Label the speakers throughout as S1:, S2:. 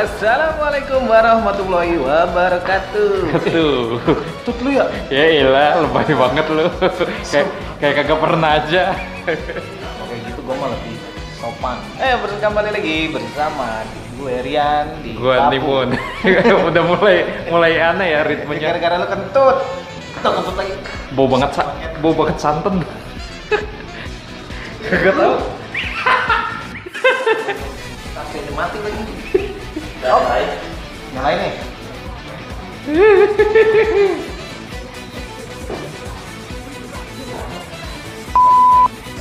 S1: Assalamualaikum warahmatullahi wabarakatuh.
S2: Tuh.
S1: Tut lu ya?
S2: Ya elah, lebay banget lu. kayak kayak kagak pernah aja.
S1: Oke gitu gua mah lebih sopan. Eh bersama kembali lagi bersama gue Rian di
S2: Gua timun. Udah mulai mulai aneh ya
S1: Eh,
S2: ritmenya.
S1: Gara-gara lu kentut. Kentut kentut lagi.
S2: Bau banget sa- bau banget santan. kagak tahu.
S1: Kayaknya mati lagi. Oh. Nyalain nih.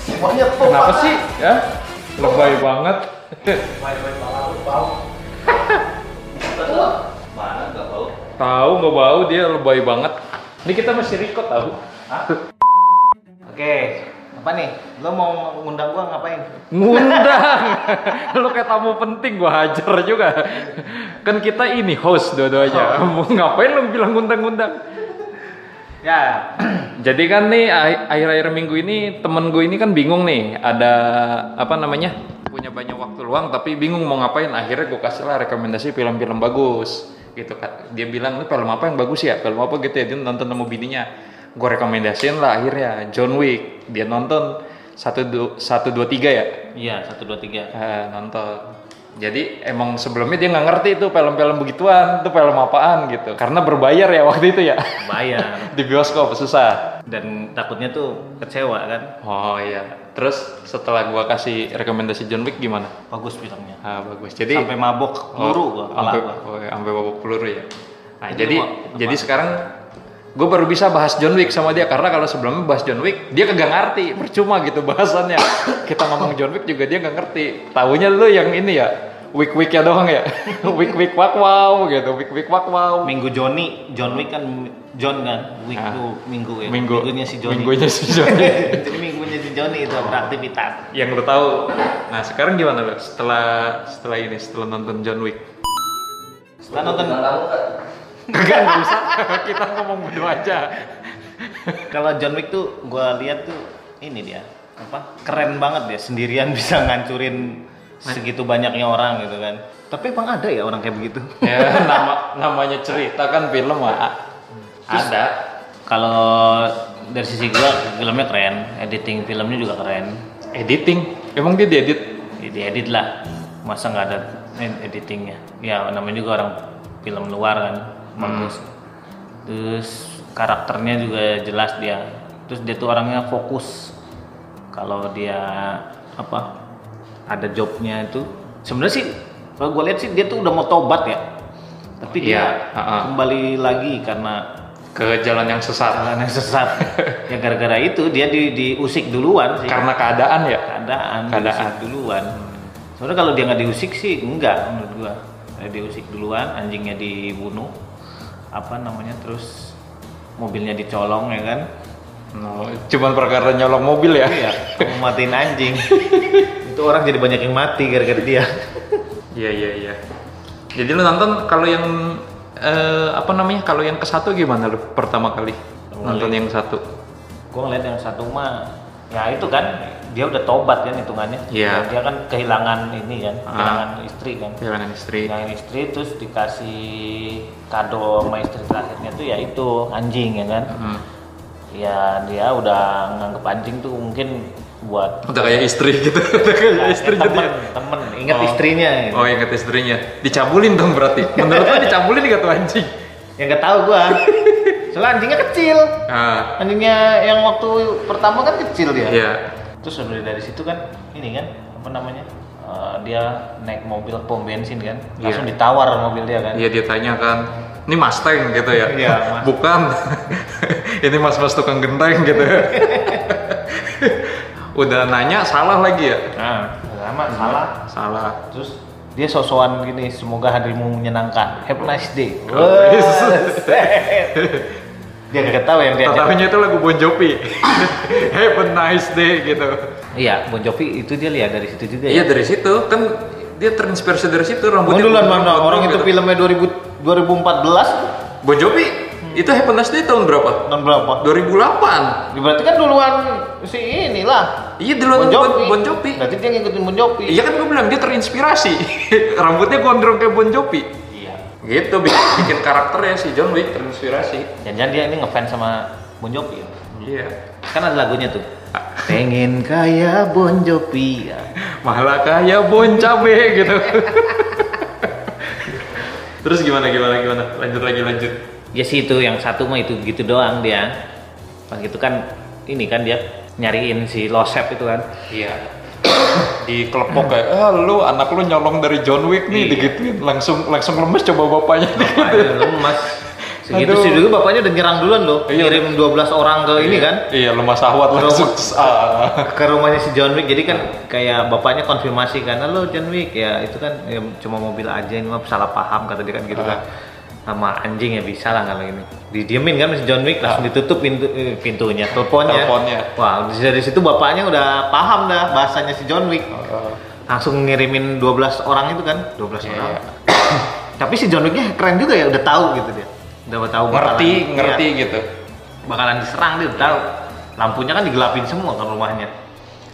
S1: Semuanya pop,
S2: Kenapa
S1: Pak.
S2: sih? Ya? Lebay banget.
S1: Main-main pala lu bau. Mana enggak bau?
S2: tahu nggak bau dia lebay banget. Ini kita masih record tahu.
S1: Oke, apa nih? Lo mau ngundang gua ngapain?
S2: Ngundang. lu kayak tamu penting gua hajar juga. Kan kita ini host dua-duanya. Mau ngapain lu bilang ngundang-ngundang?
S1: Ya,
S2: Jadi kan nih ah- akhir-akhir minggu ini temen gue ini kan bingung nih ada apa namanya punya banyak waktu luang tapi bingung mau ngapain akhirnya gue kasih lah rekomendasi film-film bagus gitu kan dia bilang lu film apa yang bagus ya film apa gitu ya dia nonton sama bininya gue rekomendasiin lah akhirnya John Wick dia nonton satu du- satu dua tiga ya
S1: iya satu dua tiga.
S2: Eh, nonton jadi emang sebelumnya dia nggak ngerti itu film-film begituan itu film apaan gitu karena berbayar ya waktu itu ya
S1: Bayar
S2: di bioskop susah
S1: dan takutnya tuh kecewa kan?
S2: Oh iya. Terus setelah gua kasih rekomendasi John Wick gimana?
S1: Bagus filmnya.
S2: Ah bagus. Jadi oh,
S1: Sampai mabok peluru gua, kepala
S2: Sampai,
S1: gua.
S2: oh, iya, sampai babak peluru ya. Nah,
S1: Itu
S2: jadi
S1: mau-
S2: jadi sekarang gue baru bisa bahas John Wick sama dia karena kalau sebelumnya bahas John Wick dia kagak ngerti percuma gitu bahasannya kita ngomong John Wick juga dia nggak ngerti tahunya lu yang ini ya week week ya doang ya week week wak wow gitu week week wak wow
S1: Minggu Joni, John Wick kan John kan, week
S2: Ah.
S1: tuh minggu ya.
S2: minggu
S1: Minggunya si Joni.
S2: minggunya si John Wick.
S1: Jadi minggunya si Joni itu beraktivitas.
S2: yang lo tahu. Nah sekarang gimana lo? Setelah setelah ini setelah nonton John Wick.
S1: Setelah nonton
S2: Kagak nggak usah. Kita ngomong berdua aja.
S1: kalau John Wick tuh gua lihat tuh ini dia apa keren banget dia sendirian bisa ngancurin segitu banyaknya orang gitu kan tapi emang ada ya orang kayak begitu
S2: ya nama namanya cerita kan film ah. Ada.
S3: Kalau dari sisi gua filmnya keren, editing filmnya juga keren.
S2: Editing. Emang dia diedit?
S3: Ya, Diedit lah, masa nggak ada ed- editingnya? Ya namanya juga orang film luar kan,
S2: Hmm.
S3: bagus. Terus karakternya juga jelas dia. Terus dia tuh orangnya fokus. Kalau dia apa ada jobnya itu, sebenarnya sih kalau gue lihat sih dia tuh udah mau tobat ya. Tapi dia
S2: Iya, ha-ha.
S3: kembali lagi karena
S2: Ke jalan yang sesat.
S3: jalan yang sesat ya gara-gara itu dia di, diusik duluan sih
S2: Karena keadaan ya.
S3: keadaan,
S2: Keadaan.
S3: diusik duluan soalnya kalau dia nggak diusik sih enggak menurut gua dia diusik duluan anjingnya dibunuh apa namanya terus mobilnya dicolong ya kan
S2: No, cuman perkara nyolong mobil ya.
S3: iya mau matiin anjing itu orang jadi banyak yang mati gara-gara dia
S2: Iya iya iya. Jadi lo nonton kalau yang eh, apa namanya kalau yang ke satu gimana lo pertama kali nonton yang satu?
S3: gua ngeliat yang satu mah ya itu kan dia udah tobat kan hitungannya
S2: Iya.
S3: dia kan kehilangan ini kan
S2: Ah. Iya.
S3: kehilangan istri kan
S2: Kehilangan istri.
S3: yang istri terus dikasih kado sama istri terakhirnya tuh ya itu anjing ya kan
S2: Hmm.
S3: ya dia udah nganggep anjing tuh mungkin buat
S2: Udah kayak istri gitu. Udah kayak
S3: ya,
S2: istri
S3: temen
S2: jadi.
S3: temen ingat
S2: Oh.
S3: istrinya gitu.
S2: Oh, ingat istrinya. Dicabulin dong berarti. Menurut lo dicabulin enggak tuh anjing?
S3: ya nggak tahu gua soalnya anjingnya kecil
S2: Ah,
S3: anjingnya yang waktu pertama kan kecil dia
S2: iya.
S3: terus dari dari situ kan ini kan apa namanya eh, dia naik mobil pom bensin kan
S2: Iya.
S3: langsung ditawar mobil dia kan
S2: Iya dia tanya kan, "Ini Mustang gitu ya?"
S3: Iya, Mas.
S2: Bukan. Ini mas-mas tukang genteng gitu. Udah nanya salah lagi ya?
S3: nah sama salah
S2: Salah.
S3: Terus dia sosokan gini, semoga harimu menyenangkan. Have a nice day.
S2: Oh,
S3: Wah,
S2: yes.
S3: set. dia nggak tahu yang dia.
S2: Tatapannya itu lagu Bon Jovi. Have a nice day gitu.
S3: Iya, Bon Jovi itu dia lihat dari situ juga. ya.
S2: Iya dari situ kan dia terinspirasi dari situ
S3: Mau
S2: rambutnya.
S3: duluan
S2: putih,
S3: mana?
S2: rambut
S3: Orang itu
S2: gitu.
S3: filmnya 2000, 2014
S2: Bon Jovi
S3: Hmm.
S2: itu Happiness Day tahun berapa?
S3: tahun berapa?
S2: 2008.
S3: Ya, Berarti kan duluan si inilah
S2: Iya di luar
S3: Bon Jovi.
S2: Bon, bon Jovi.
S3: Berarti dia ngikutin Bon Jovi.
S2: Iya kan gue bilang dia terinspirasi. Rambutnya gondrong kayak Bon Jovi.
S3: Iya.
S2: Gitu bikin, bikin karakternya si John Wick terinspirasi.
S3: Jangan-jangan dia ini ngefans sama Bon Jovi ya?
S2: Iya.
S3: Kan ada lagunya tuh. Pengen kaya Bon Jovi. Ya.
S2: Malah kayak Bon Cabe gitu. Terus gimana gimana gimana? Lanjut lagi lanjut.
S3: Ya sih itu yang satu mah itu gitu doang dia. Pas itu kan ini kan dia nyariin si Losep itu kan.
S2: Iya. di kelepok kayak, ah lu anak lu nyolong dari John Wick nih, digituin langsung langsung lemes coba bapaknya.
S3: Aduh, lemas. Segitu
S2: Aduh.
S3: sih dulu bapaknya udah nyerang duluan loh.
S2: Iya.
S3: Kirim 12 orang ke ini kan
S2: Iya lemas ahwat langsung. Ah.
S3: ke rumahnya si John Wick jadi kan kayak bapaknya konfirmasi kan lo John Wick ya itu kan ya, cuma mobil aja ini mah salah paham kata dia kan gitu kan
S2: Ah.
S3: sama anjing ya bisa lah kalau ini didiemin kan si John Wick langsung ditutup pintu eh, pintunya teleponnya
S2: Teleponnya.
S3: wah dari situ bapaknya udah paham dah bahasanya si John Wick langsung ngirimin 12 orang itu kan 12
S2: Iya,
S3: orang tapi si John Wicknya keren juga ya udah tahu gitu dia udah tahu bakalan-
S2: ngerti
S3: iya,
S2: ngerti gitu
S3: bakalan diserang dia udah tahu lampunya kan digelapin semua kan rumahnya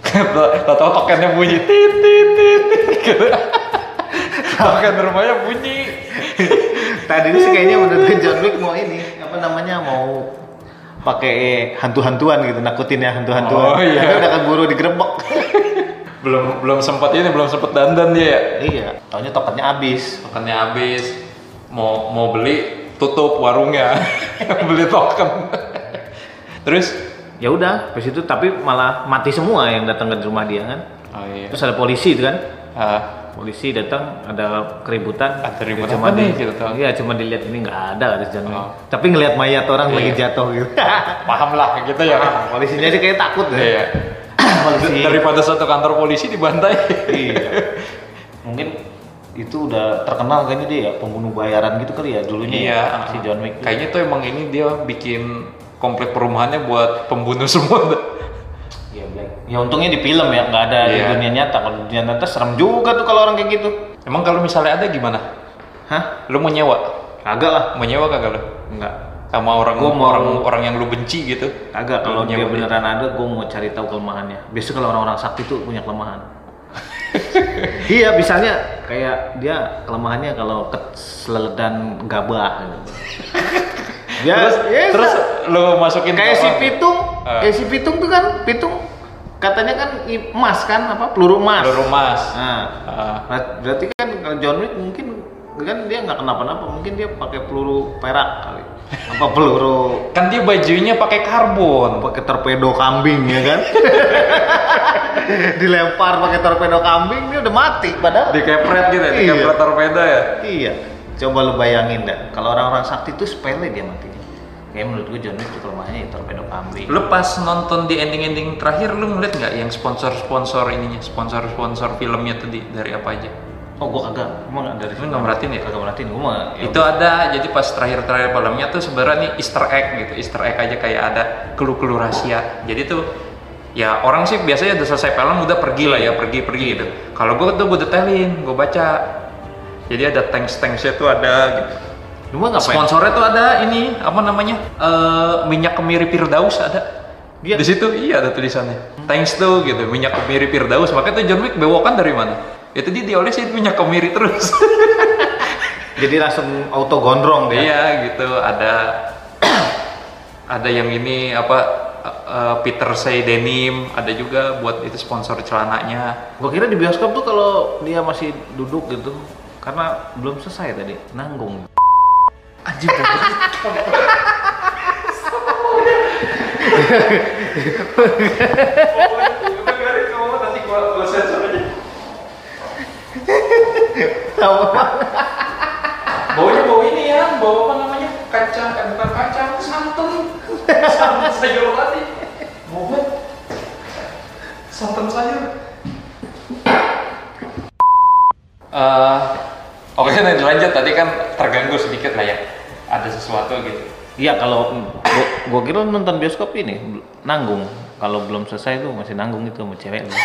S2: tahu tokennya bunyi tit tit tit tit, gitu token rumahnya bunyi
S3: Tadi sih kayaknya udah John Wick mau ini apa namanya mau pakai hantu-hantuan gitu nakutin ya hantu-hantuan.
S2: Oh, iya.
S3: Tapi udah keburu digerebek.
S2: belum belum sempat ini belum sempat dandan dia ya
S3: iya. Taunya tokennya habis.
S2: tokennya habis mau mau beli tutup warungnya beli token terus
S3: Ya udah, habis itu tapi malah mati semua yang datang ke rumah dia kan.
S2: oh iya
S3: Terus ada polisi itu kan.
S2: Ah,
S3: Polisi datang ada keributan.
S2: Ada keributan
S3: Cuma
S2: apa
S3: di-
S2: nih gitu, Tom?
S3: Iya, cuma dilihat ini nggak ada ada John Wick.
S2: Oh.
S3: Tapi ngelihat mayat orang
S2: Iya.
S3: lagi jatuh gitu.
S2: paham lah gitu ya kan?
S3: Ah, Polisinya sih kayak takut deh.
S2: iya
S3: Polisi.
S2: daripada satu kantor polisi dibantai
S3: iya. Mungkin itu udah terkenal kayaknya dia ya pembunuh bayaran gitu kali ya dulunya ya,
S2: Iya,
S3: si John Wick. tuh.
S2: Kayaknya tuh emang ini dia bikin komplek perumahannya buat pembunuh semua.
S3: Iya, Black. Ya untungnya di film ya, nggak ada
S2: Iya.
S3: di dunia nyata. Kalau di dunia nyata serem juga tuh kalau orang kayak gitu.
S2: Emang kalau misalnya ada gimana?
S3: Hah?
S2: Lu mau nyewa?
S3: Kagak lah.
S2: Mau nyewa kagak lu?
S3: Enggak.
S2: Sama orang
S3: Gua mau-
S2: orang orang yang lu benci gitu.
S3: Kagak kalau
S2: Lu
S3: dia
S2: nyewa
S3: beneran ada, gue mau cari tahu kelemahannya. Biasanya kalau orang-orang sakti tuh punya kelemahan. iya, misalnya kayak dia kelemahannya kalau keseledan gabah gitu. Dia-
S2: Terus ya,
S3: iya,
S2: terus lu masukin
S3: kayak
S2: ke
S3: si
S2: apa?
S3: pitung
S2: Eh.
S3: kayak si pitung tuh kan pitung katanya kan i- emas kan apa peluru emas
S2: Peluru emas.
S3: nah
S2: Ah,
S3: ber- berarti kan kalau John Wick mungkin kan dia nggak kenapa-napa mungkin dia pakai peluru perak kali apa peluru
S2: kan dia bajunya pakai karbon.
S3: pakai torpedo kambing ya kan dilempar pakai torpedo kambing dia udah mati padahal
S2: Dikepret gitu ya,
S3: Iya.
S2: dikepret torpedo ya.
S3: iya coba lu bayangin dah kalau orang-orang sakti tuh sepele dia matinya kayak menurut gue John Wick tuh kelemahannya ya torpedo kambing
S2: Lu pas nonton di ending-ending terakhir lu ngeliat nggak yang sponsor-sponsor ininya, sponsor-sponsor filmnya tadi dari apa aja?
S3: Oh gua kagak, emang ada dari
S2: Lu nggak merhatiin ya?
S3: Kagak merhatiin, gua mah ya
S2: itu ada jadi pas terakhir-terakhir filmnya tuh sebenarnya nih Easter egg gitu Easter egg aja kayak ada clue-clue rahasia jadi tuh ya orang sih biasanya udah selesai film udah pergi lah ya pergi-pergi gitu kalau gue tuh gue detailin gue baca jadi ada tanks-tanksnya tuh ada gitu
S3: Lu mah ngapain?
S2: sponsornya tuh ada ini apa namanya eh, minyak kemiri Firdaus ada
S3: Iya.
S2: di situ iya ada tulisannya thanks tuh gitu minyak kemiri Firdaus makanya tuh John Wick bewokan dari mana itu dia diolesin minyak kemiri terus
S3: Jadi langsung auto gondrong dia
S2: Iya gitu ada ada yang ini apa uh, uh, Peter Say denim ada juga buat itu sponsor celananya.
S3: Gua kira di bioskop tuh kalau dia masih duduk gitu Karena belum selesai tadi, nanggung
S2: Anjing goblok. Baunya bau ini ya, bau apa namanya? Kacang, eh, bukan kacang, santan. Santan sayur tadi. Bau banget. Santan sayur. Eh, Oke, nah lanjut tadi kan terganggu sedikit lah ya. Ada sesuatu gitu.
S3: Iya kalau gua, gua kira nonton bioskop ini bel- nanggung kalau belum selesai tuh masih nanggung itu sama cewek lu.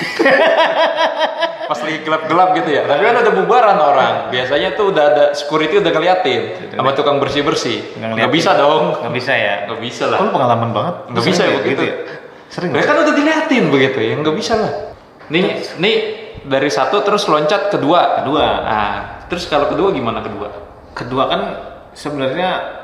S2: Pas lagi gelap-gelap gitu ya. Tapi kan udah bubaran orang. Biasanya tuh udah ada security
S3: Gitu.
S2: udah ngeliatin sama tukang bersih-bersih.
S3: Nggak
S2: Nggak bisa dong.
S3: Nggak bisa ya.
S2: Nggak bisa lah.
S3: Kalau pengalaman banget.
S2: Nggak bisa ya begitu.
S3: ya? Sering.
S2: Ya kan udah diliatin begitu ya, nggak bisa lah. Nih, nih dari satu terus loncat kedua.
S3: Kedua.
S2: Ah, terus kalau kedua gimana kedua?
S3: Kedua kan sebenarnya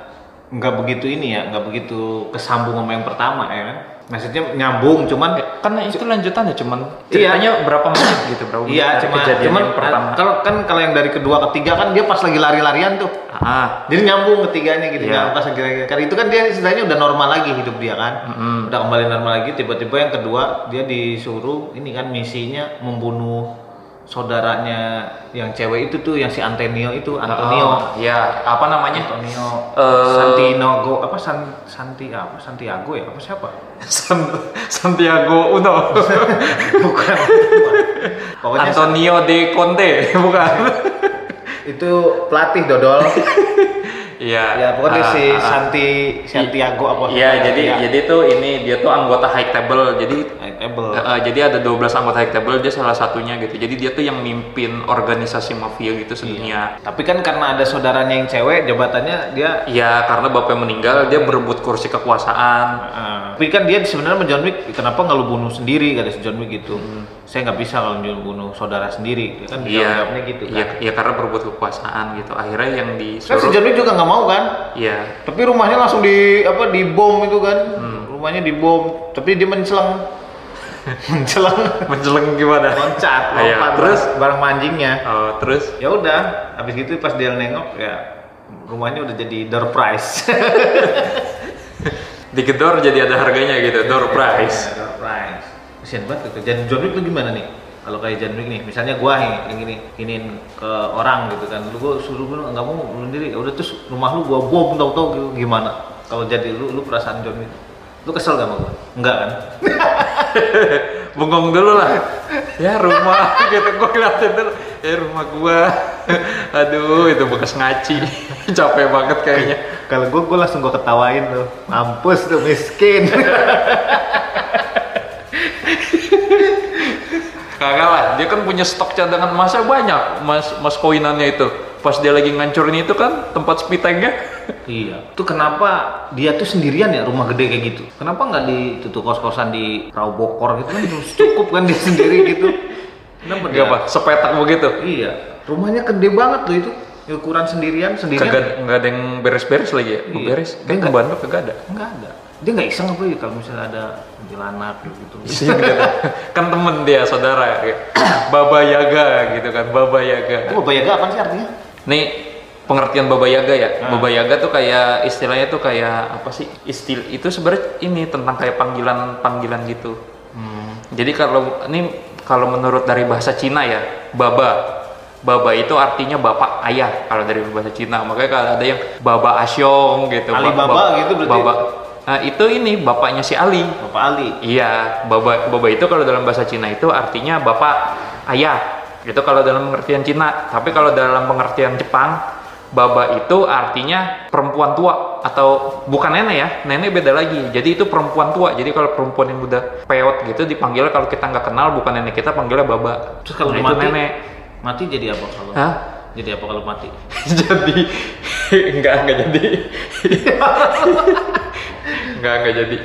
S3: nggak begitu ini ya, nggak begitu kesambung sama yang pertama ya kan. Maksudnya nyambung, cuman
S2: Karena itu lanjutannya cuman
S3: Iya.
S2: ceritanya berapa menit gitu, berapa menit
S3: iya
S2: dari
S3: cuma
S2: kejadian
S3: cuman
S2: yang pertama.
S3: kalau kan kalau yang dari kedua ketiga kan dia pas lagi lari-larian tuh.
S2: Ah,
S3: Jadi nyambung ketiganya gitu
S2: Iya.
S3: nyambung pas kira-kira. Karena itu kan dia istilahnya udah normal lagi hidup dia kan.
S2: Mm-mm.
S3: Udah kembali normal lagi tiba-tiba yang kedua dia disuruh ini kan misinya membunuh saudaranya yang cewek itu tuh yang si Antonio itu Antonio.
S2: Oh, ya, apa namanya?
S3: Antonio
S2: Eh,
S3: Santinogo apa San, Santi apa Santiago ya apa siapa?
S2: San- Santiago Uno.
S3: Bukan. Pokoknya
S2: Antonio De Conte, bukan.
S3: itu pelatih dodol.
S2: Iya.
S3: ya pokoknya
S2: Ah,
S3: si
S2: ah, ah.
S3: Santi Santiago apa? ya.
S2: Iya, jadi jadi tuh ini dia tuh anggota high table. Jadi
S3: Able.
S2: eh, eh, jadi ada 12 anggota high table, dia salah satunya gitu. Jadi dia tuh yang mimpin organisasi mafia
S3: Iya.
S2: gitu sedunia.
S3: Tapi kan karena ada saudaranya yang cewek, jabatannya dia
S2: Iya, karena bapaknya meninggal, dia berebut kursi kekuasaan.
S3: Ah. tapi kan dia sebenarnya sama John Wick kenapa nggak lu bunuh sendiri kata si John Wick gitu saya nggak bisa kalau lu bunuh saudara sendiri dia kan
S2: Hmm. Iya.
S3: jawabnya gitu kan
S2: Iya, iya, karena berebut kekuasaan gitu. Akhirnya yang
S3: kan si
S2: disuruh
S3: John Wick juga nggak mau kan
S2: Iya.
S3: tapi rumahnya langsung di apa dibom itu kan
S2: Hmm.
S3: rumahnya dibom tapi dia mencelang mencelang
S2: Menjeleng gimana?
S3: loncat
S2: Ah, iya.
S3: lompat
S2: Terus?
S3: terus barang mancingnya
S2: Oh, terus
S3: ya udah habis gitu pas dia nengok ya rumahnya udah jadi door prize
S2: digedor jadi ada harganya gitu, door prize.
S3: Ya, door prize. Kesian banget gitu. Jadi John Wick tuh gimana nih? Kalau kayak John Wick nih, misalnya gua nih, yang gini, giniin ke orang gitu kan. Lu gua suruh bunuh, nggak mau bunuh diri. Ya udah terus rumah lu gua bom tau-tau gitu. gimana? Kalau jadi lu, lu perasaan John Wick. Lu kesel gak sama gua? Enggak kan?
S2: Bengong dulu lah. Ya rumah gitu gua ngeliatin dulu. Ya rumah gua. Aduh, itu bekas ngaci. Capek banget kayaknya.
S3: Kalau gua gua langsung gua ketawain tuh. Mampus tuh miskin.
S2: Kagak lah, dia kan punya stok cadangan masa banyak. Mas mas koinannya itu. Pas dia lagi ngancurin itu kan tempat spitengnya.
S3: iya. Itu kenapa dia tuh sendirian ya rumah gede kayak gitu? Kenapa nggak di itu tuh kos-kosan di Rau Bokor gitu kan cukup kan dia sendiri gitu. Kenapa
S2: Gak apa, sepetak begitu.
S3: Iya, rumahnya gede banget loh itu. Ya, Ukuran sendirian sendirian.
S2: Kagak nggak ada yang beres-beres lagi ya?
S3: Iya.
S2: Beres?
S3: Dia
S2: Kayak ke
S3: nggak-
S2: Bandung kagak ada.
S3: Enggak ada. Dia nggak iseng apa ya kalau misalnya ada kuntilanak gitu.
S2: Isinya gitu. kan temen dia saudara kayak, Baba Yaga gitu kan Baba Yaga
S3: Itu bayar gak apa sih artinya?
S2: nih pengertian Baba Yaga ya
S3: Ah.
S2: Baba Yaga tuh kayak istilahnya tuh kayak apa sih istil itu sebenarnya ini tentang kayak panggilan panggilan gitu
S3: Hmm.
S2: jadi kalau ini kalau menurut dari bahasa Cina ya Baba Baba itu artinya bapak ayah kalau dari bahasa Cina makanya kalau ada yang Baba Asyong gitu
S3: Ali
S2: Ba-
S3: Baba
S2: ba-
S3: gitu berarti?
S2: Baba Nah, itu ini bapaknya si Ali
S3: Bapak Ali.
S2: Iya, baba baba itu kalau dalam bahasa Cina itu artinya bapak, ayah. Itu kalau dalam pengertian Cina. Tapi kalau dalam pengertian Jepang, baba itu artinya perempuan tua atau bukan nenek ya. Nenek beda lagi. Jadi itu perempuan tua. Jadi kalau perempuan yang udah peot gitu dipanggilnya kalau kita nggak kenal bukan nenek kita panggilnya baba.
S3: Terus kalau
S2: Nah, itu
S3: mati?
S2: nenek.
S3: Mati jadi apa kalau?
S2: Hah?
S3: Jadi apa kalau mati?
S2: jadi enggak enggak jadi. enggak enggak jadi.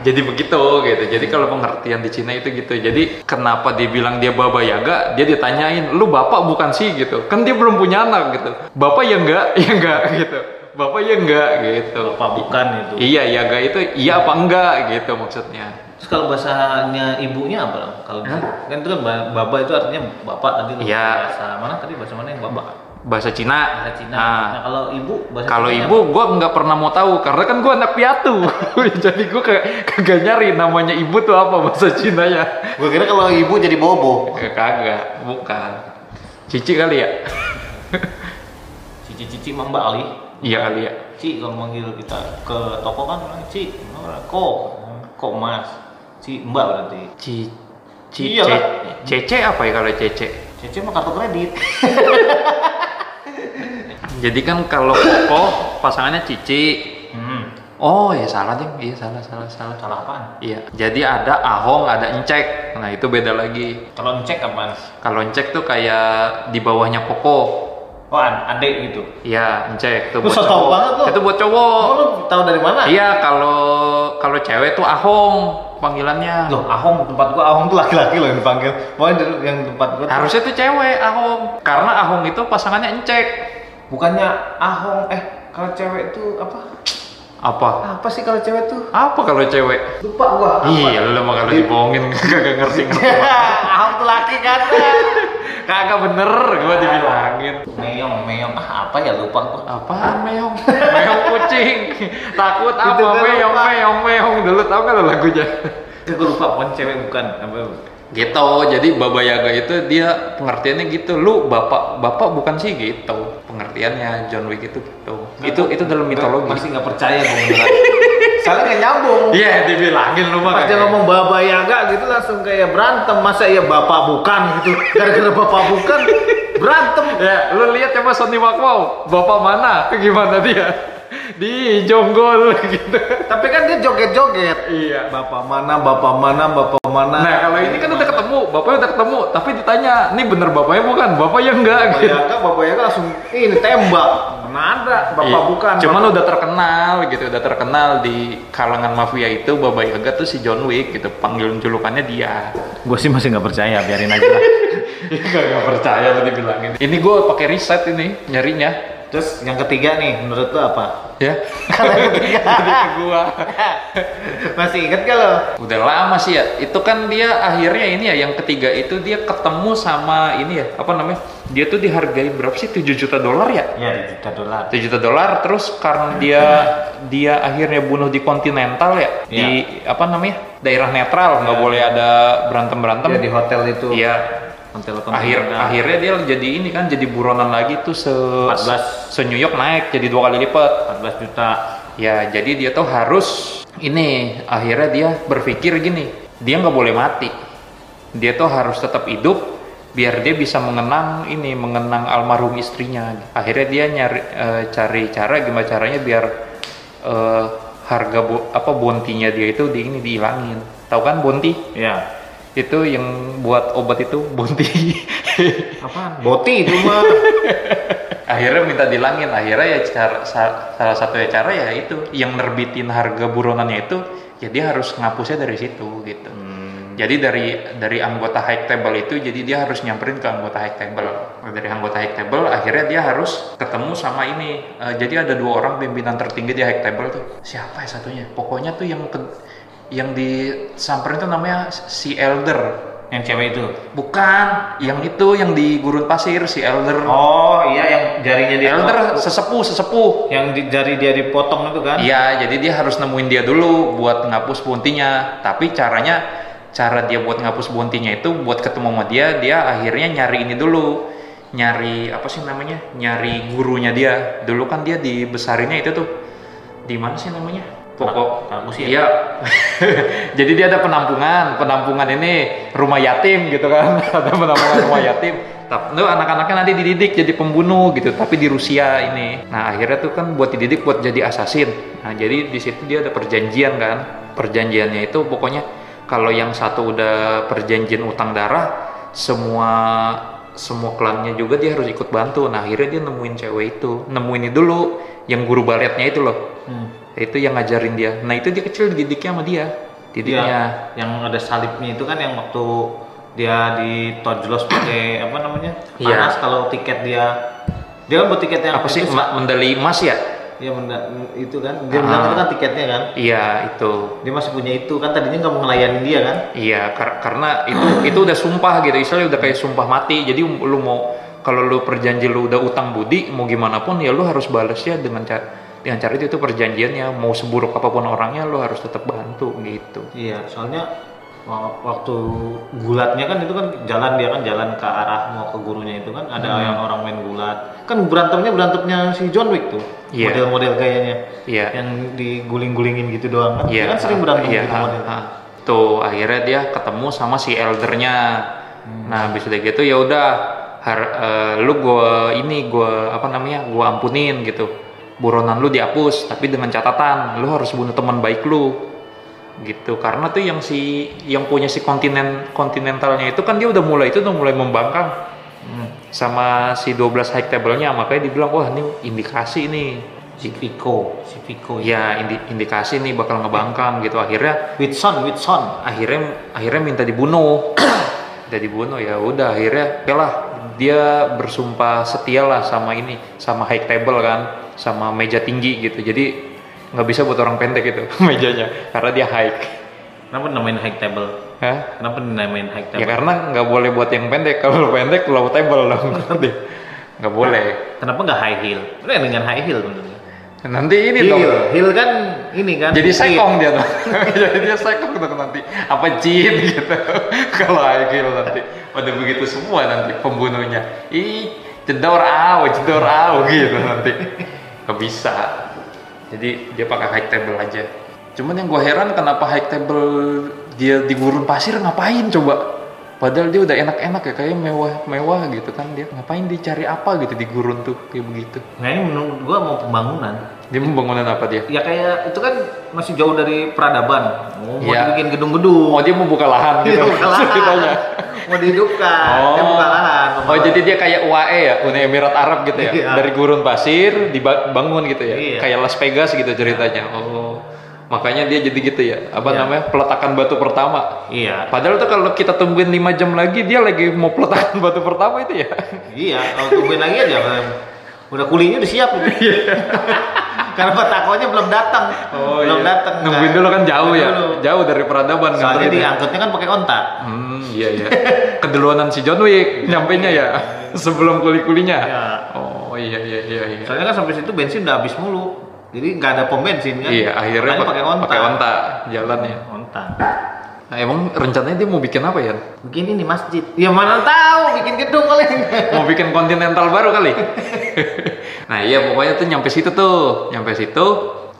S2: Jadi begitu gitu. Jadi kalau pengertian di Cina itu gitu. Jadi kenapa dia bilang dia baba yaga, dia ditanyain, "Lu bapak bukan sih?" gitu. Kan dia belum punya anak gitu. "Bapak ya enggak, ya enggak." gitu. "Bapak ya enggak." gitu.
S3: Bapak bukan itu.
S2: Iya, yaga itu iya apa enggak gitu maksudnya.
S3: Terus kalau bahasanya ibunya apa? dong? Kalau
S2: Hah?
S3: kan itu kan ba- baba itu artinya bapak tadi lu
S2: Iya.
S3: bahasa mana tadi bahasa mana yang bapak?
S2: Bahasa Cina.
S3: Bahasa Cina.
S2: Ah.
S3: Nah, kalau ibu bahasa
S2: Kalau
S3: Cinanya
S2: ibu, gue nggak pernah mau tahu karena kan gue anak piatu, jadi gue kagak nyari namanya ibu tuh apa bahasa Cina ya.
S3: apa? Gua kira kalau ibu jadi bobo.
S2: Kagak, bukan. Cici kali ya?
S3: Cici-cici Mang Mbak Ali.
S2: Iya kali ya.
S3: Ci kalau manggil kita ke toko kan orang Ci, orang kok, kok Mas, Ci Mbak berarti.
S2: Cici, cici,
S3: Iyalah.
S2: cece apa ya kalau cece?
S3: Cici mah kartu kredit.
S2: Jadi kan kalau koko pasangannya cici.
S3: Hmm,
S2: Oh ya salah deh, iya salah salah salah.
S3: salah apaan?
S2: Iya. Jadi ada ahong, ada encek. Nah itu beda lagi.
S3: Kalau cek kan, apaan?
S2: Kalau encek tuh kayak di bawahnya koko.
S3: Oh, an- adek gitu.
S2: Iya, encek tuh
S3: Lu
S2: buat
S3: so tau
S2: cowok.
S3: banget lu.
S2: Itu buat cowok.
S3: Oh, lu tahu dari mana?
S2: Iya, kalau kalau cewek tuh ahong. panggilannya
S3: Loh, Ahong, tempat gua Ahong tuh laki-laki loh yang dipanggil. Pokoknya dulu yang tempat gua tuh-
S2: harusnya tuh cewek Ahong karena Ahong itu pasangannya encek
S3: bukannya Ahong eh kalau cewek tuh apa?
S2: apa
S3: Apa sih kalau cewek tuh?
S2: apa kalau cewek
S3: Lupa gua.
S2: iya lu mah kalau dibohongin kagak ngerti ngerti
S3: Iya. Ahong tuh laki kan.
S2: kagak bener gua dibilangin
S3: Meyong, Meyong. Ah, apa ya lupa gua.
S2: apaan meong meong kucing takut
S3: Itu
S2: apa
S3: udah
S2: meong
S3: lupa.
S2: meong meong dulu tau kan lu lagunya
S3: Kayak gua lupa pokoknya cewek bukan apa.
S2: gitu jadi Baba Yaga itu dia pengertiannya gitu lu bapak bapak bukan sih gitu pengertiannya John Wick itu gitu itu itu dalam mitologi
S3: Masih nggak percaya gua beneran. Soalnya nggak nyambung.
S2: iya dibilangin lu mah
S3: Pas dia
S2: kagak.
S3: ngomong Baba Yaga gitu langsung kayak berantem. Masa iya bapak bukan gitu. Gara-gara bapak bukan berantem.
S2: Ya, lu lihat coba Sony Wakwau, bapak mana? Gimana dia? Di jonggol gitu.
S3: Tapi kan dia joget-joget.
S2: Iya.
S3: Bapak mana, bapak mana, bapak mana.
S2: Nah, kalau ini kan udah ketemu, bapaknya udah ketemu, tapi ditanya, "Nih bener bapaknya bukan? Bapaknya enggak?"
S3: Bapak ya,
S2: gitu.
S3: Yaga, bapak Yaga langsung ini tembak. Mana ada, bapak
S2: Iya.
S3: bukan.
S2: Cuman udah terkenal gitu, udah terkenal di kalangan mafia itu Baba Yaga tuh si John Wick gitu, panggilan julukannya dia.
S3: gue sih masih nggak percaya, biarin aja lah.
S2: Gak, percaya lo dibilangin. Ini gue pakai riset ini nyarinya,
S3: Terus yang ketiga nih, menurut lo apa?
S2: ya. Jadi ke gua.
S3: Masih inget gak lo?
S2: Udah lama sih ya. Itu kan dia akhirnya ini ya yang ketiga itu dia ketemu sama ini ya, apa namanya? Dia tuh dihargain berapa sih? 7 juta dolar ya?
S3: Ya, juta dolar.
S2: 7 juta dolar terus karena dia dia akhirnya bunuh di kontinental ya, di apa namanya? daerah netral, nggak boleh ada berantem-berantem.
S3: Dia di hotel itu.
S2: Iya.
S3: Hotel
S2: Akhir akhirnya dia jadi ini kan jadi buronan lagi tuh se
S3: 14.
S2: se New York naik jadi dua kali lipat.
S3: 14 juta.
S2: Ya, jadi dia tuh harus ini akhirnya dia berpikir gini, dia nggak boleh mati. Dia tuh harus tetap hidup biar dia bisa mengenang ini, mengenang almarhum istrinya. Akhirnya dia nyari eh, cari cara gimana caranya biar eh, harga bo- apa bontinya dia itu di ini dihilangin. Tahu kan bonti?
S3: Iya.
S2: Itu yang buat obat itu bonti.
S3: Apaan? Boti itu mah.
S2: akhirnya minta dilangin akhirnya ya cara- sa- salah satu ya cara ya itu yang nerbitin harga buronannya itu ya dia harus ngapusnya dari situ gitu jadi dari dari anggota high table itu jadi dia harus nyamperin ke anggota high table Nah, dari anggota high table akhirnya dia harus ketemu sama ini Eh, jadi ada dua orang pimpinan tertinggi di high table tuh siapa ya satunya pokoknya tuh yang ke- yang disamperin tuh namanya si elder
S3: yang cewek itu.
S2: bukan yang itu yang di gurun pasir si elder
S3: Oh iya yang jarinya dia.
S2: Elder sesepuh sesepuh.
S3: Yang di, jari dia dipotong itu kan?
S2: Iya, jadi dia harus nemuin dia dulu buat ngapus bounty-nya. Tapi caranya cara dia buat ngapus bounty-nya itu buat ketemu sama dia, dia akhirnya nyari ini dulu. Nyari apa sih namanya? Nyari gurunya dia. Dulu kan dia dibesarinnya itu tuh di mana sih namanya? Pokok
S3: Kampus ya?
S2: Iya. Jadi dia ada penampungan, penampungan ini rumah yatim gitu kan. ada penampungan rumah yatim. Tapi itu anak-anaknya nanti dididik jadi pembunuh gitu, tapi di Rusia ini. Nah, akhirnya tuh kan buat dididik buat jadi assassin. Nah, jadi di situ dia ada perjanjian kan. Perjanjiannya itu pokoknya kalau yang satu udah perjanjian utang darah, semua semua klannya juga dia harus ikut bantu. Nah, akhirnya dia nemuin cewek itu. Nemuin ini dulu yang guru baletnya itu loh
S3: Hmm.
S2: itu yang ngajarin dia nah itu dia kecil didiknya sama dia
S3: Iya.
S2: didiknya
S3: Yang ada salibnya itu kan yang waktu dia ditojlos pakai apa namanya?
S2: Iya.
S3: Panas kalau tiket dia dia kan buat tiket yang
S2: apa sih
S3: itu,
S2: ma- medali emas ya
S3: Ya menda- itu kan dia
S2: Ah.
S3: bilang itu kan tiketnya kan.
S2: iya itu
S3: Dia masih punya itu kan tadinya nggak mau ngelayanin dia kan?
S2: iya kar- karena itu itu udah sumpah gitu istilahnya udah kayak sumpah mati jadi um, lu mau kalau lu perjanji lu udah utang budi mau gimana pun ya lu harus balasnya dengan cara dengan cara itu itu perjanjiannya mau seburuk apapun orangnya lu harus tetap bantu gitu
S3: Iya, soalnya wa- waktu gulatnya kan itu kan jalan dia kan jalan ke arah mau ke gurunya itu kan ada
S2: Hmm.
S3: yang orang main gulat. Kan berantemnya berantemnya si John Wick tuh.
S2: Iya.
S3: Model-model gayanya.
S2: Iya.
S3: Yang diguling-gulingin gitu doang kan.
S2: Iya.
S3: Dia kan sering berantem
S2: Iya,
S3: gitu
S2: ah,
S3: model.
S2: ah. Tuh akhirnya dia ketemu sama si eldernya.
S3: Hmm.
S2: Nah habis udah gitu ya udah har- eh, lu gua ini gua apa namanya gua ampunin gitu. Buronan lu dihapus tapi dengan catatan lu harus bunuh teman baik lu gitu karena tuh yang si yang punya si kontinen kontinentalnya itu kan dia udah mulai itu udah mulai Hmm. membangkang sama si 12 high table-nya makanya dibilang wah ini indikasi nih
S4: Civico
S3: Oh,
S4: Civico ya
S3: iya.
S2: ya indi- indikasi nih bakal ngebangkang gitu akhirnya
S3: Whitson Whitson
S2: akhirnya akhirnya minta dibunuh minta dibunuh ya udah akhirnya oke lah dia bersumpah setia lah sama ini sama high table kan sama meja tinggi gitu jadi nggak bisa buat orang pendek itu mejanya karena dia high
S3: kenapa namain high table
S2: Hah?
S3: kenapa dinamain high
S2: Ya
S3: table
S2: karena nggak boleh buat yang pendek. Kalau lu pendek low table dong. Nanti nggak boleh.
S3: kenapa nggak high heel Keren dengan high heel sebenarnya
S2: Nanti ini
S3: heel
S2: dong.
S3: heel kan ini kan
S2: Jadi
S3: saya
S2: sekong dia tuh. Jadi dia sekong tuh nanti. Apa jin gitu. Kalau Aikil nanti. Pada begitu semua nanti pembunuhnya. Ih, jedor aw, jedor aw gitu nanti. Nggak bisa. Jadi dia pakai high table aja. Cuman yang gue heran kenapa high table dia di gurun pasir ngapain coba? Padahal dia udah enak-enak ya, kayak mewah-mewah gitu kan dia. Ngapain dicari apa gitu di gurun tuh kayak begitu?
S3: nah ini menurut gua mau pembangunan
S2: Dia membangunan apa dia?
S3: ya kayak itu kan masih jauh dari peradaban mau mau
S2: Iya.
S3: dibikin gedung-gedung
S2: Oh dia mau buka lahan gitu.
S3: Dia buka lahan.
S2: Ceritanya.
S3: mau dihidupkan dia buka lahan
S2: Oh, jadi dia kayak UAE ya, Uni Emirat Arab gitu ya.
S3: Iya.
S2: Dari gurun pasir dibangun gitu ya.
S3: Iya.
S2: Kayak Las Vegas gitu ceritanya. Oh. Makanya dia jadi gitu ya. Apa
S3: Iya.
S2: namanya? Peletakan batu pertama.
S3: iya
S2: Padahal tuh kalau kita tungguin 5 jam lagi dia lagi mau peletakan batu pertama itu ya.
S3: iya kalau tungguin lagi aja kan. udah kulinya udah siap
S2: Iya.
S3: karena petakonya belum datang belum
S2: iya.
S3: datang kan.
S2: Nungguin dulu kan jauh ya.
S3: Dulu.
S2: Jauh dari peradaban kan
S3: soalnya
S2: ternyata.
S3: diangkutnya kan pakai ontak
S2: Hmm, iya iya. Keduluanan si John Wick nyampainya ya sebelum kuli-kulinya.
S3: Iya.
S2: Oh iya iya iya iya.
S3: soalnya kan sampai situ bensin udah habis mulu jadi nggak ada pom bensin kan
S2: Iya, akhirnya
S3: Makanya pakai ontak
S2: Pakai onta jalannya.
S3: ontak
S2: Nah, emang rencananya dia mau bikin apa ya?
S3: bikin ini masjid ya mana tahu bikin gedung kali
S2: Mau bikin kontinental baru kali. nah, iya pokoknya tuh nyampe situ tuh, nyampe situ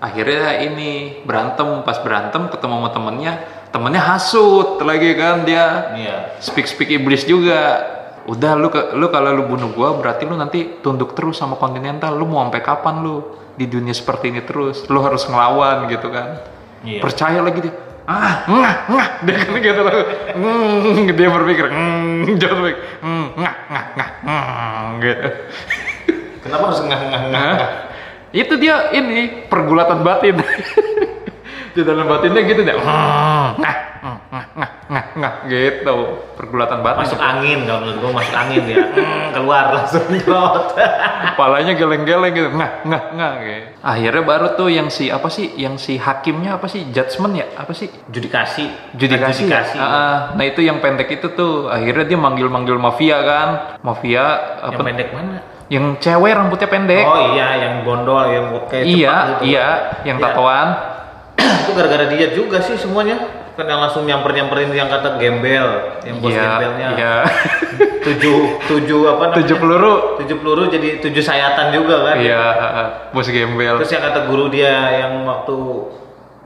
S2: akhirnya ini berantem pas berantem ketemu sama temennya temennya hasut lagi kan dia
S3: Iya.
S2: speak speak iblis juga udah lu ke- lu kalau lu bunuh gua berarti lu nanti tunduk terus sama kontinental lu mau sampai kapan lu di dunia seperti ini terus lu harus ngelawan gitu kan
S3: Iya.
S2: percaya lagi dia ah ngah ngah dia kan gitu loh Hmm, dia berpikir hmm John Wick hmm ngah ngah ngah hmm gitu
S3: Kenapa harus ngah-ngah-ngah?
S2: Hah? itu dia ini pergulatan batin di dalam batinnya gitu deh hmm, ngah hmm, ngah ngah ngah ngah gitu pergulatan batin
S3: Masuk angin kalau menurut gua masuk angin ya. Hmm, keluar langsung nyerot.
S2: kepalanya geleng-geleng gitu ngah ngah ngah gitu. akhirnya baru tuh yang si apa sih yang si hakimnya apa sih judgement ya apa sih
S3: Judikasi.
S2: judikasi,
S3: Judikasi.
S2: ya? Ah, ah. nah itu yang pendek itu tuh akhirnya dia manggil-manggil mafia kan mafia
S3: yang
S2: apa
S3: pendek mana?
S2: yang cewek rambutnya pendek
S3: Oh iya, yang bondol, yang kayak
S2: iya
S3: cepat gitu.
S2: iya yang
S3: Iya.
S2: tatoan
S3: Itu gara-gara dia juga sih semuanya. Kan yang langsung nyamper-nyamperin yang kata gembel, yang bos
S2: iya
S3: gembelnya.
S2: iya
S3: Tujuh, tujuh apa namanya?
S2: tujuh peluru
S3: Tujuh peluru jadi tujuh sayatan juga kan.
S2: iya ah, ah. bos gembel
S3: Terus yang kata guru dia yang waktu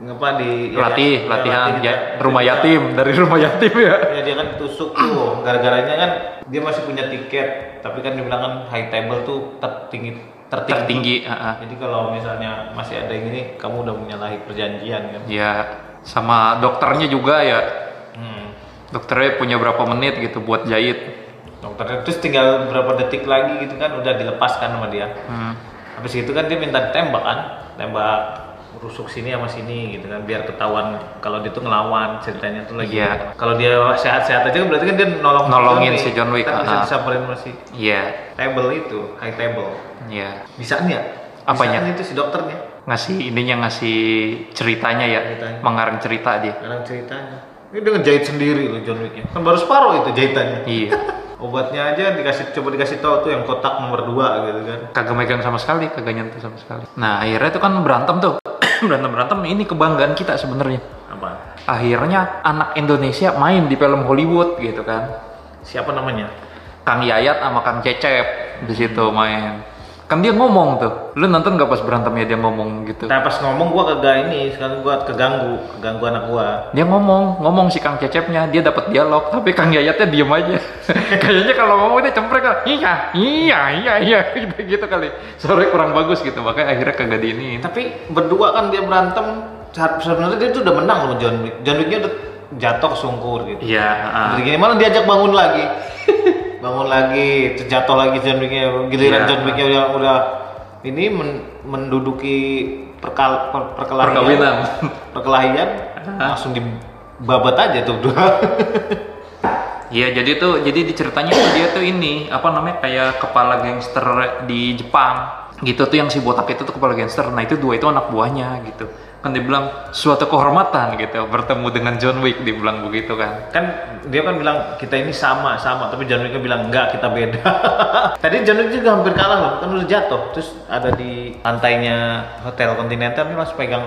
S3: apa di ya,
S2: latih
S3: ya,
S2: latihan
S3: kita-
S2: ya, rumah
S3: kita-
S2: yatim dari rumah yatim ya
S3: Ya dia kan tusuk tuh, gara-garanya kan dia masih punya tiket, tapi kan dibilang kan high table tuh tertinggi tertinggi.
S2: tertinggi ah, ah.
S3: Jadi kalau misalnya masih ada yang ini, kamu udah menyalahi perjanjian kan.
S2: Ya, sama dokternya juga ya.
S3: Hmm.
S2: Dokternya punya berapa menit gitu buat jahit.
S3: Dokternya terus tinggal berapa detik lagi gitu kan udah dilepaskan sama dia.
S2: Hmm.
S3: Habis itu kan dia minta tembak kan, tembak rusuk sini sama sini gitu kan biar ketahuan kalau dia tuh ngelawan ceritanya tuh lagi
S2: Iya.
S3: kalau dia sehat-sehat aja kan berarti kan dia nolong
S2: Nolongin
S3: Wick.
S2: si John Wick,
S3: kan
S2: ah,
S3: bisa
S2: aha.
S3: disamperin masih
S2: Iya,
S3: table itu high table
S2: iya.
S3: Bisaan ya?
S2: Apanya?
S3: Bisaan itu si dokternya,
S2: Ngasih ininya ngasih ceritanya ya,
S3: Ceritanya.
S2: mengarang cerita dia.
S3: kadang ceritanya. Ini dengan jahit sendiri loh John Wicknya. Kan baru separuh itu jahitannya.
S2: Iya.
S3: Obatnya aja dikasih coba dikasih tahu tuh yang kotak nomor 2 gitu kan.
S2: Kagak megang sama sekali, kagak nyentuh sama sekali. Nah, akhirnya itu kan berantem tuh. Berantem-berantem ini kebanggaan kita sebenarnya.
S3: Apa?
S2: Akhirnya anak Indonesia main di film Hollywood gitu kan.
S3: Siapa namanya?
S2: Kang Yayat sama Kang Cecep di situ main. Kan dia ngomong tuh. Lu nonton gak pas berantemnya dia ngomong gitu?
S3: Nah, pas ngomong gua kagak ini, sekarang gua keganggu, keganggu anak gua.
S2: dia ngomong ngomong si kang cecepnya dia dapat dialog tapi kang yayatnya diem aja kayaknya kalau ngomong dia cemprek kan iya iya iya iya gitu, gitu kali sore kurang bagus gitu makanya akhirnya kagak diiniin
S3: Tapi berdua kan dia berantem se- sebenarnya dia tuh udah menang loh John Wick. John Wicknya udah jatuh sungkur gitu.
S2: iya ah.
S3: Jadi gini malah diajak bangun lagi. bangun lagi, terus jatuh lagi John Wicknya. Giliran
S2: Iya.
S3: John Wicknya udah udah ini men- menduduki perkal- per- perkelahian
S2: Perkawinan.
S3: perkelahian langsung dibabat aja tuh dua
S2: Iya, jadi tuh jadi diceritanya tuh dia tuh ini apa namanya kayak kepala gangster di Jepang gitu tuh yang si botak itu tuh kepala gangster. Nah itu dua itu anak buahnya gitu. Kan dia bilang suatu kehormatan gitu bertemu dengan John Wick dia bilang begitu kan.
S3: kan dia kan bilang kita ini sama sama tapi John Wick bilang enggak kita beda tadi John Wick juga hampir kalah loh kan udah jatuh terus ada di lantainya hotel Continental dia masih pegang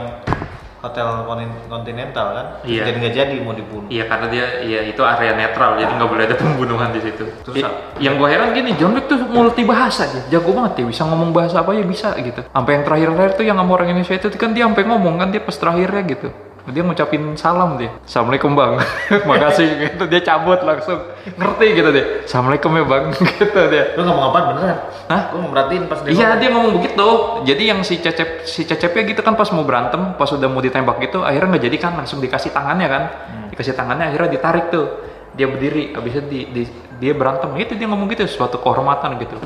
S3: hotel Kon- Continental kan
S2: Iya.
S3: jadi nggak jadi mau dibunuh
S2: Iya karena dia ya itu area netral jadi nggak boleh ada pembunuhan di situ.
S3: Terus
S2: Ya,
S3: apa?
S2: yang gue heran gini John Wick tuh multibahasa dia, jago banget dia bisa ngomong bahasa apa ya bisa gitu. Sampai yang terakhir-terakhir tuh yang sama orang Indonesia itu kan dia sampai ngomong kan dia pas terakhirnya gitu. Dia ngucapin salam dia. Assalamualaikum bang. Makasih gitu dia cabut langsung. Ngerti gitu dia. Assalamualaikum ya bang gitu dia.
S3: lu ngomong apa beneran
S2: Hah?
S3: gue merhatiin pas dia gitu.
S2: Iya dia ngomong begitu. Jadi yang si cecep si cecepnya gitu kan pas mau berantem, pas udah mau ditembak gitu, akhirnya nggak jadi kan langsung dikasih tangannya kan,
S3: Hmm.
S2: dikasih tangannya akhirnya ditarik tuh, dia berdiri, abis itu di, di- dia berantem, itu dia ngomong gitu suatu kehormatan gitu,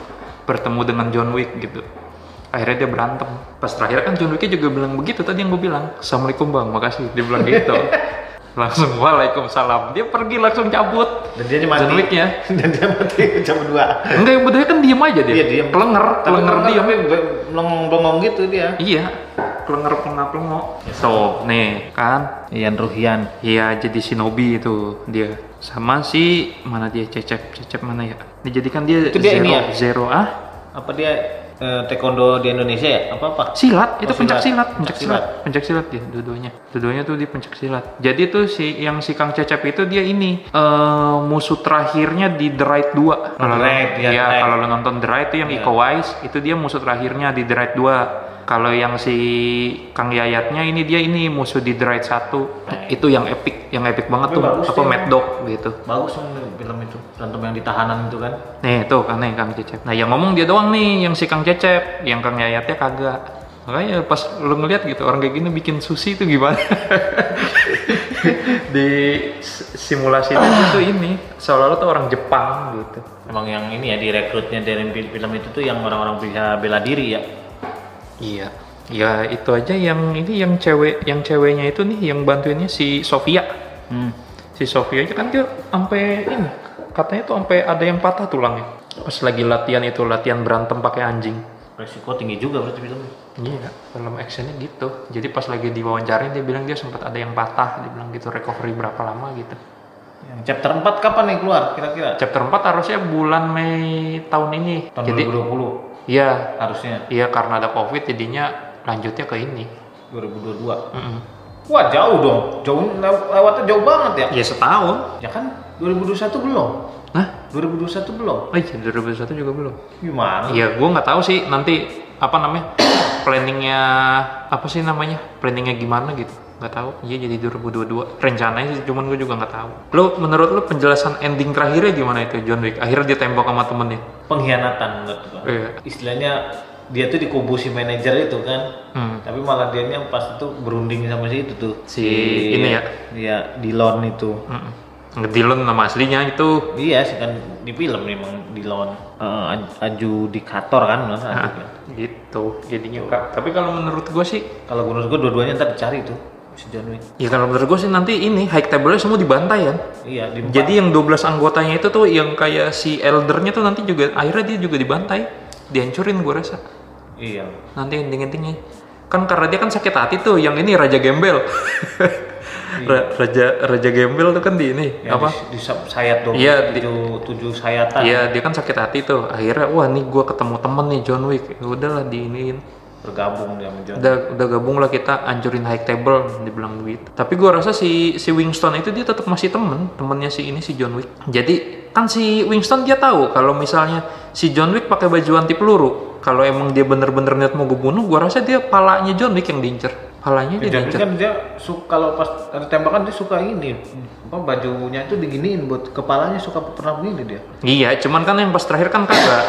S2: bertemu dengan John Wick gitu. Akhirnya dia berantem. Pas terakhir kan John Wicknya juga bilang begitu tadi yang gue bilang, assalamualaikum bang, makasih. Dia bilang gitu. langsung waalaikumsalam. Dia pergi langsung cabut.
S3: dan dia mati
S2: John ya? Wick-nya.
S3: dan dia mati jam 2
S2: Enggak yang bedanya kan diem aja dia.
S3: Iya, diem. kan
S2: Pelenger, pelenger
S3: dia
S2: diem.
S3: bengong gitu dia
S2: Iya, pelenger pelengap pelengok. So, nih kan,
S3: Ian Ruhian
S2: iya jadi shinobi itu dia. Sama si mana dia cecep, cecep mana ya? Dijadikan dia,
S3: Itu dia
S2: zero,
S3: ini ya?
S2: zero ah?
S3: apa dia eh, taekwondo di Indonesia ya apa apa
S2: Silat, itu
S3: Oh,
S2: pencak silat,
S3: silat.
S2: pencak silat, pencak silat dia dua-duanya. Dua-duanya tuh dia pencak silat. Jadi tuh si yang si Kang Cecep itu dia ini eh musuh terakhirnya di The Raid 2. Kalau lo-
S3: Raid, ya,
S2: iya,
S3: Raid.
S2: kalau lo nonton The Iya. Raid itu yang Iko Uwais, itu dia musuh terakhirnya di The Raid 2. Kalau yang si Kang Yayatnya ini dia ini musuh di The Raid 1. Nah, Itu yang epic, yang epic banget
S3: Tapi
S2: tuh
S3: bagus
S2: apa
S3: dia.
S2: Mad Dog gitu.
S3: bagus kan film itu berantem yang di tahanan itu kan
S2: Nih tuh kan nih Kang Cecep. Nah yang ngomong dia doang nih yang si Kang Cecep, yang Kang Yayatnya kagak. Makanya pas lu ngeliat gitu orang kayak gini bikin sushi itu gimana? di s- simulasi itu tuh ini seolah-olah tuh orang Jepang gitu.
S3: emang yang ini ya direkrutnya dari fil- film itu tuh yang orang-orang bisa bela diri ya
S2: Iya. Ya itu aja yang ini yang cewek yang ceweknya itu nih yang bantuinnya si Sofia. Hmm. Si Sofia aja kan dia sampai ini katanya tuh sampai ada yang patah tulangnya. Pas lagi latihan itu latihan berantem pakai anjing.
S3: resiko tinggi juga berarti filmnya
S2: Iya, film actionnya gitu. Jadi pas lagi diwawancarin dia bilang dia sempat ada yang patah, dia bilang gitu recovery berapa lama gitu.
S3: yang chapter 4 kapan nih keluar kira-kira
S2: Chapter 4 harusnya bulan Mei tahun ini.
S3: tahun
S2: jadi
S3: 2020
S2: iya,
S3: harusnya
S2: iya karena ada Covid jadinya lanjutnya ke ini.
S3: 2022
S2: Mm-mm.
S3: wah jauh dong jauh lew- lewatnya jauh banget ya
S2: Ya setahun.
S3: ya kan 2021 belum
S2: Hah?
S3: 2021 belum
S2: Oh iya, 2021 juga belum.
S3: gimana
S2: Iya, gua nggak tahu sih nanti apa namanya planningnya apa sih namanya planningnya gimana gitu nggak tahu iya jadi 2022 rencananya sih cuman gue juga nggak tahu lo menurut lo penjelasan ending terakhirnya gimana itu John Wick akhirnya dia tembak sama temennya
S3: pengkhianatan menurut gua.
S2: Iya.
S3: Istilahnya dia tuh dikubu si manajer itu kan.
S2: Hmm.
S3: Tapi malah dia yang pas itu berunding sama si itu tuh.
S2: Si ini ya?
S3: Iya, Dilon itu.
S2: Mm-mm. ngedilen nama hmm. aslinya itu
S3: Iya sih kan di film memang Dilon Eh, aj- adjudikator kan bener, adjudikator.
S2: gitu jadinya kak tapi kalau menurut gue sih
S3: Kalau menurut gua dua-duanya ntar dicari tuh si John Wick.
S2: ya kalau menurut gue sih nanti ini high table semua dibantai kan
S3: Iya, di
S2: jadi yang 12 anggotanya itu tuh yang kayak si eldernya tuh nanti juga akhirnya dia juga dibantai dihancurin gue rasa
S3: iya.
S2: nanti ending-endingnya kan karena dia kan sakit hati tuh yang ini raja gembel Ra- raja raja gembel tuh kan di ini
S3: Iya. Yang
S2: apa
S3: Iya, Di, di sa- sayat dong.
S2: Iya, di-
S3: tujuh, tujuh sayatan.
S2: Iya dia kan sakit hati tuh akhirnya wah nih gua ketemu temen nih John Wick ya udahlah diinin
S3: Bergabung dia sama John.
S2: udah udah gabung lah kita ancurin high table dibilang begitu tapi gua rasa si si Winston itu dia tetap masih temen temennya si ini si John Wick jadi kan si Winston dia tahu kalau misalnya si John Wick pakai baju anti peluru kalau emang dia bener-bener niat mau gue bunuh gua rasa dia palanya John Wick yang diincer palanya dia
S3: Jadi
S2: diincer
S3: kan dia suka kalau pas ada tembakan dia suka ini apa bajunya itu diginiin buat kepalanya suka pernah begini dia.
S2: Iya, cuman kan yang pas terakhir kan kagak.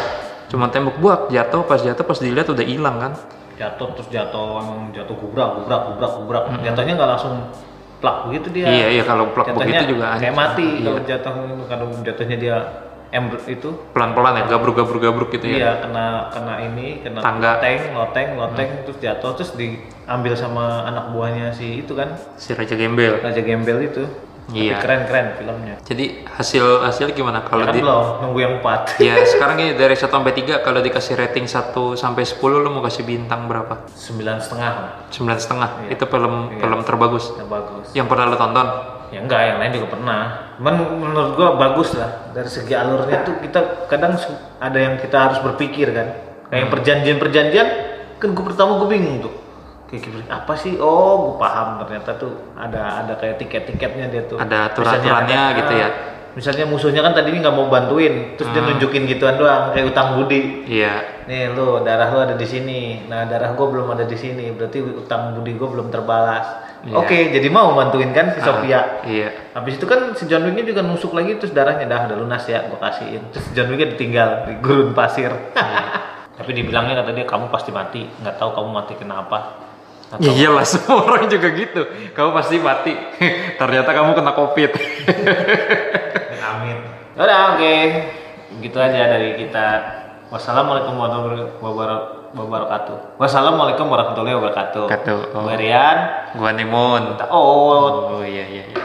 S2: Cuma tembok buak jatuh, pas jatuh pas dilihat udah hilang kan.
S3: Jatuh terus jatuh emang jatuh gubrak gubrak gubrak gubrak. Jatuhnya nggak langsung plak begitu dia.
S2: Iya, iya, kalau plak
S3: Jatuhnya
S2: begitu juga
S3: kayak
S2: aneh.
S3: mati
S2: Iya.
S3: kalau jatuh kalau jatuhnya dia ember itu
S2: pelan-pelan ya gabruk-gabruk-gabruk gitu ya
S3: Iya, kena kena ini, kena
S2: Tangga. Mm.
S3: loteng, loteng, loteng, terus jatuh, terus diambil sama anak buahnya si itu kan,
S2: si Raja Gembel
S3: Raja Gembel itu. Tapi
S2: Iya.
S3: kan- keren-keren filmnya.
S2: jadi hasil hasil gimana
S3: Ya
S2: kalau
S3: kan
S2: di
S3: belum, nunggu yang 4.
S2: ya sekarang ini dari 1 sampai 3 kalau dikasih rating 1 sampai 10 lu mau kasih bintang berapa?
S3: Sembilan setengah lah,
S2: 9,5
S3: Iya.
S2: itu film film terbagus
S3: yang bagus.
S2: yang pernah lu tonton
S3: Ya enggak, yang lain juga pernah. Cuman menurut gua bagus lah. Dari segi alurnya tuh kita kadang su- ada yang kita harus berpikir kan. Kayak
S2: Hmm.
S3: yang perjanjian-perjanjian, kan gua pertama gua bingung tuh. Kayak gini, apa sih? Oh, gua paham ternyata tuh ada ada kayak tiket-tiketnya dia tuh. Misalnya
S2: Ada aturan-aturannya
S3: ada-
S2: gitu ya. Hmm.
S3: Misalnya musuhnya kan tadi ini nggak mau bantuin, terus dia nunjukin gituan doang kayak utang budi.
S2: iya
S3: Nih lu darah lu ada di sini. Nah, darah gua belum ada di sini. Berarti utang budi gua belum terbalas.
S2: Iya.
S3: Oke, jadi mau bantuin kan si
S4: Ah.
S3: Sophia.
S2: iya
S3: Habis itu kan si John Wicknya juga nusuk lagi terus darahnya dah udah lunas ya gue kasihin. Terus John Wicknya ditinggal di gurun pasir.
S4: Iya. Tapi dibilangnya kata dia kamu pasti mati, nggak tahu kamu mati kenapa.
S2: Iya iyalah semua orang juga gitu kamu pasti mati ternyata kamu kena covid
S3: Amin.
S4: Udah oke, gitu aja dari kita. Wassalamualaikum warahmatullahi wabarakatuh. Wassalamualaikum warahmatullahi wabarakatuh.
S2: Wabarakatuh. Oh.
S4: Gua Rian.
S2: gua Nimun
S4: Oh,
S2: oh iya iya iya